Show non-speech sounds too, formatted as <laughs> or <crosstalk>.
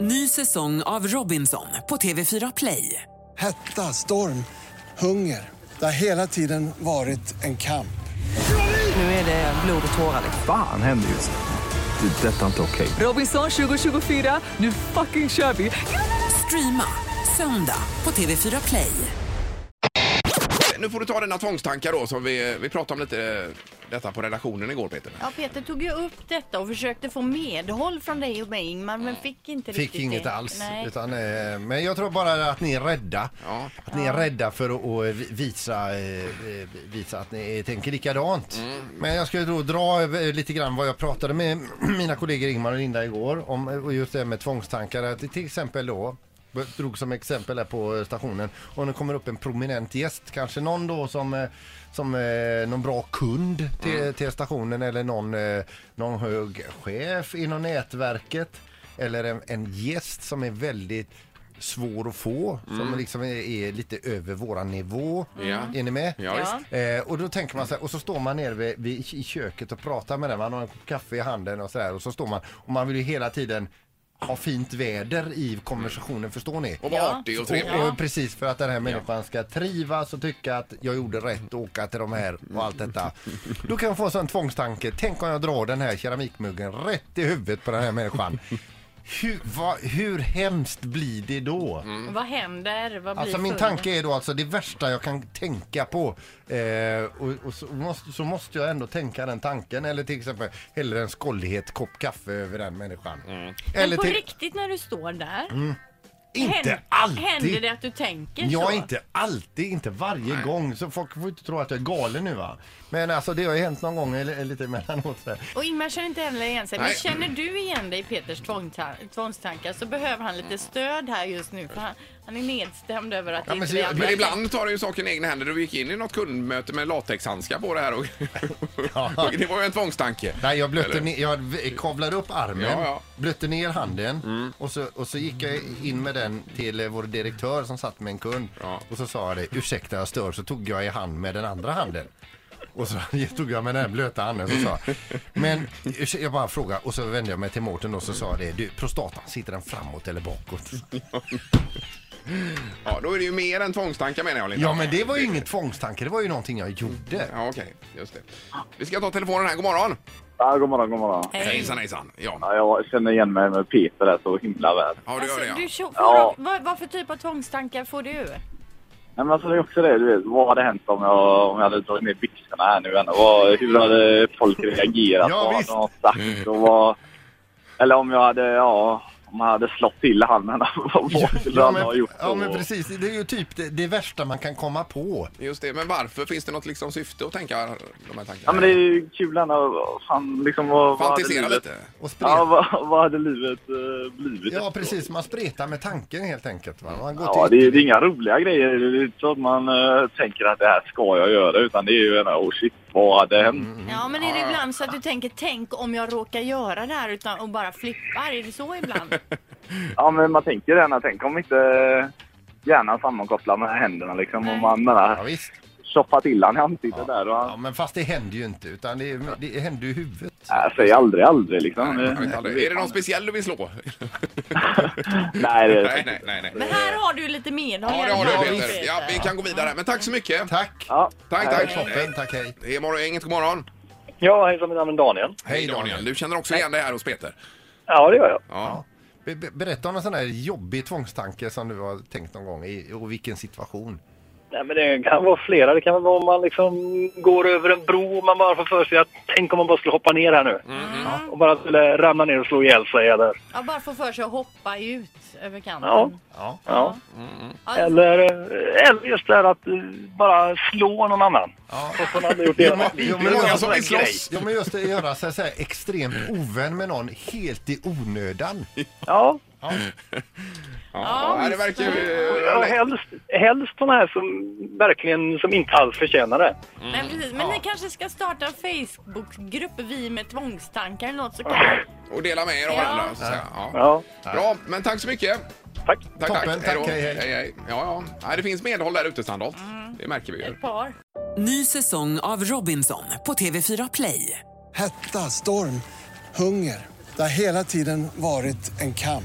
Ny säsong av Robinson på TV4 Play. Hetta, storm, hunger. Det har hela tiden varit en kamp. Nu är det blod och tårar. liksom. Fan händer just nu. Det. är Detta är inte okej. Robinson 2024, nu fucking kör vi! Streama söndag på TV4 Play. Nu får du ta dina tvångstankar då som vi, vi pratade om lite eh, detta på redaktionen igår Peter. Ja, Peter tog ju upp detta och försökte få medhåll från dig och mig Ingmar, men fick inte Fick riktigt inget det. alls. Nej. Utan, eh, men jag tror bara att ni är rädda. Ja. Att ni är rädda för att att vi- visa, eh, eh, visa att ni tänker likadant. Men jag skulle då dra eh, lite grann vad jag pratade med <clears throat> mina kollegor Ingmar och Linda igår om eh, och just det här med tvångstankar. Att det till exempel då b- drog som exempel här på eh, stationen om det kommer upp en prominent gäst, kanske någon då som, eh, som eh, någon bra kund till, till stationen eller någon, eh, någon hög chef inom nätverket eller en, en gäst som är väldigt svår att få, som liksom är, är lite över våran nivå. Mm. Ja. Är ni med? Ja, visst. Eh, och då tänker man så här, och så står man nere vid, vid, i köket och pratar med den. Man har en kopp kaffe i handen och så där. Och så står man, och man vill ju hela tiden ha fint väder i konversationen, förstår ni? Och var artig och trevlig. Och, och precis för att den här människan ska trivas och tycka att jag gjorde rätt och åka till de här och allt detta. Då kan jag få en sån tvångstanke. Tänk om jag drar den här keramikmuggen rätt i huvudet på den här människan. Hur, vad, hur hemskt blir det då? Vad händer? Vad Mm. blir Alltså min följden? tanke är då alltså det värsta jag kan tänka på eh, och, och så, måste, så måste jag ändå tänka den tanken eller till exempel hellre en skållighet kopp kaffe över den människan. Eller men på till, Mm. riktigt när du står där, inte händer, alltid! händer det att du tänker Ja, så? inte alltid, inte varje gång. Så folk får inte tro att jag är galen nu va. Men alltså det har ju hänt någon gång eller, eller lite emellanåt. Så här. Och Ingmar känner inte heller igen sig. Men Nej. känner du igen dig i Peters tvångta- tvångstankar så behöver han lite stöd här just nu. För han, han är nedstämd över att Ja, men inte så vi jag- andra- Men ibland tar du ju saken i egna händer. Du gick in i något kundmöte med latexhandskar på det här och, <laughs> och det var ju en tvångstanke. Nej, jag, blötte Eller? ner, jag v- kavlade upp armen, Ja, Mm. ja. blötte ner handen och, så, och så gick jag in med den till eh, vår direktör som satt med en kund. Ja. Och så sa jag det, ursäkta jag stör, så tog jag i hand med den andra handen. Och så <laughs> tog jag med den här blöta handen och så sa jag, men ursäkta, jag bara frågade och så vände jag mig till Mårten och så sa jag det, du prostatan, sitter den framåt eller bakåt? Ja, då är det ju mer än tvångstankar menar jag Linda. Ja men det var ju ingen tvångstanke, det var ju någonting jag gjorde. Ja, okej. Just det. Vi ska ta telefonen här. God morgon! Ja, god morgon, god morgon. Hej. Hejsan, hejsan. Ja, Ja, jag känner igen mig med Peter där så himla väl. ja du Alltså, gör det du ja. tjo- får, Ja. vad, vad för typ av tvångstankar får du? Nej, men alltså det är också det, du vet, vad hade hänt om jag, om jag hade dragit ner byxorna här nu än? Och Vad, hur hade folk reagerat? Ja, vad visst. hade de sagt? Och vad, eller om jag hade, ja, om jag hade slått till han, men <laughs> vad skulle han ha men, gjort ja då? men precis, det är ju typ det, det värsta man kan komma på. Just det. Men varför? Finns det något liksom syfte att tänka de här tankarna? Ja, men det är ju kul ändå. Fan, liksom, vad, vad hade Fantisera livet... lite. Och spreta. Ja, vad, vad hade livet eh, blivit? Ja, precis. Man spretar med tanken helt enkelt. Va? Man går Ja, det till... är, det är inga roliga grejer. Det är inte så att man eh, tänker att det här ska jag göra utan det är ju en oh shit, vad hade hänt? Mm. Ja, men är det Ja, ja. ibland så att du tänker tänk om jag råkar göra det här utan, och bara flippar? Är det så ibland? Ja, men man tänker gärna, tänk om inte eh, hjärnan sammankopplar med händerna liksom. Nej. Om man Ja, menar, visst. tjoffar till han i ansiktet där och Ja, han... men fast det händer ju inte, utan det, är- det händer ju i huvudet. Nej, säg aldrig, aldrig liksom. Nej, jag vet Det- aldrig. Är det någon speciell du vill slå? Nej, det Nej, nej, nej. nej. Men här har du lite medhåll. Ja, i det har alla fall, du Peter. Ja, vi kan gå vidare. Men tack så mycket. Tack! Ja. Tack, Nej. tack. Toppen, tack hej. Det är morgongänget. God morgon. Ja, hejsan, mitt namn är Daniel. Hej Daniel. Du känner också igen det här hos Peter? Ja, det gör jag. Ja. Be- be- Berätta om en sån här jobbig tvångstanke som du har tänkt någon gång i, och vilken situation. Nej, men det kan vara flera. Det kan vara om man liksom går över en bro och man bara får för sig att tänk om man bara skulle hoppa ner här nu. Mm, Ja, Och bara skulle ramla ner och slå ihjäl sig eller... Ja, bara få för sig att hoppa ut över Ja. kanten. Ja. Ja. Ja. Eller, eller just det här att eh, bara slå någon annan. Ja. Och sån hade gjort det. men- jo, men- Det är många Ja, som sån vill grej. slåss. Ja, men just det, göra sig så här extremt ovän med någon helt i onödan. Ja. Ja, det verkar ju... ja, helst, helst såna här som verkligen som inte alls förtjänar det. Men, precis. Men ni kanske ska starta en Facebookgrupp, Vi med tvångstankar eller något. Så kan Och dela med er av Ja. varandra. Så att säga. Ja. Ja. Bra, men tack så mycket. Tack. Tack, Toppen, tack. tack, då. hej, hej. hej, hej. Ja, ja. Nej, det finns medhåll där ute, Sandholt. Mm. Det märker vi ju. ett par. Ny säsong av Robinson på TV4 Play. Hetta, storm, hunger. Det har hela tiden varit en kamp.